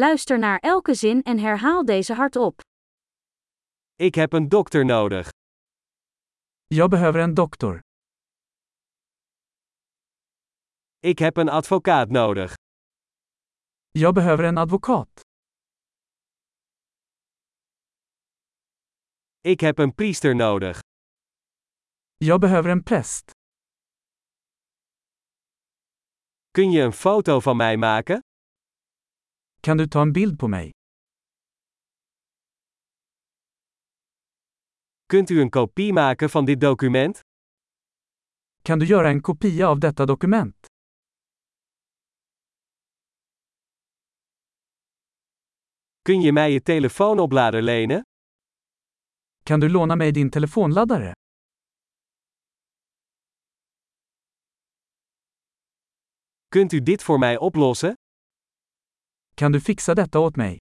Luister naar elke zin en herhaal deze hardop. Ik heb een dokter nodig. Jag behöver en doktor. Ik heb een advocaat nodig. Jag behöver en advokat. Ik heb een priester nodig. Jag behöver en präst. Kun je een foto van mij maken? Kan du ta en bild på mig? Kunt u een kopie maken van dit document? Kan du göra en kopia av detta dokument? Kun je mij je telefoonoplader lenen? Kan du låna mig din telefonladdare? Kunt u dit voor mij oplossen? Kan du fixa detta åt mig?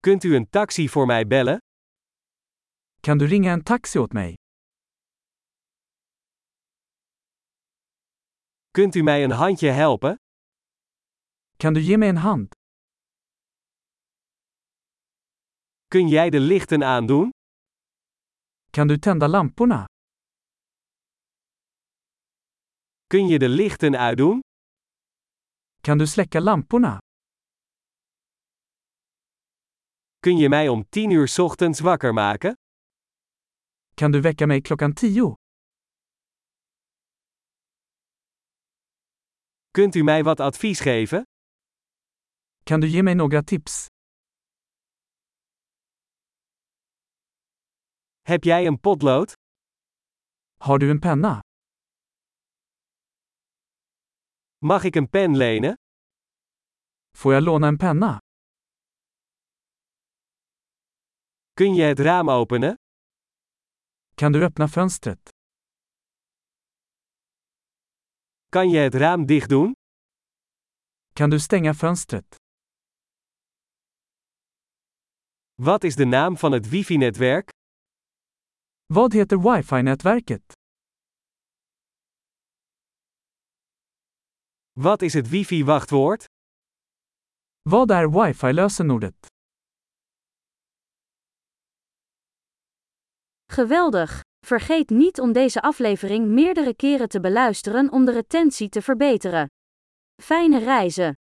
Kunt u een taxi voor mij bellen? Kan du ringa en taxi åt mig? Kunt u mij een handje helpen? Kan du ge mig en hand? Kun jij de lichten aandoen? Kan du tända lamporna? Kun je de lichten uitdoen? Kan du släcka lamporna? Kun je mij om 10 uur 's ochtends wakker maken? Kan du väcka mig klockan tio? Kunt u mij wat advies geven? Kan du ge mig några tips? Heb jij een potlood? Har du en penna? Mag ik een pen lenen? Får jag låna en penna? Kun je het raam openen? Kan du öppna fönstret? Kan je het raam dicht doen? Kan du stänga fönstret? Wat is de naam van het wifi-netwerk? Vad heter wifi-nätverket? Wat is het wifi-wachtwoord? Vad är wifi-lösenordet? Geweldig! Vergeet niet om deze aflevering meerdere keren te beluisteren om de retentie te verbeteren. Fijne reizen!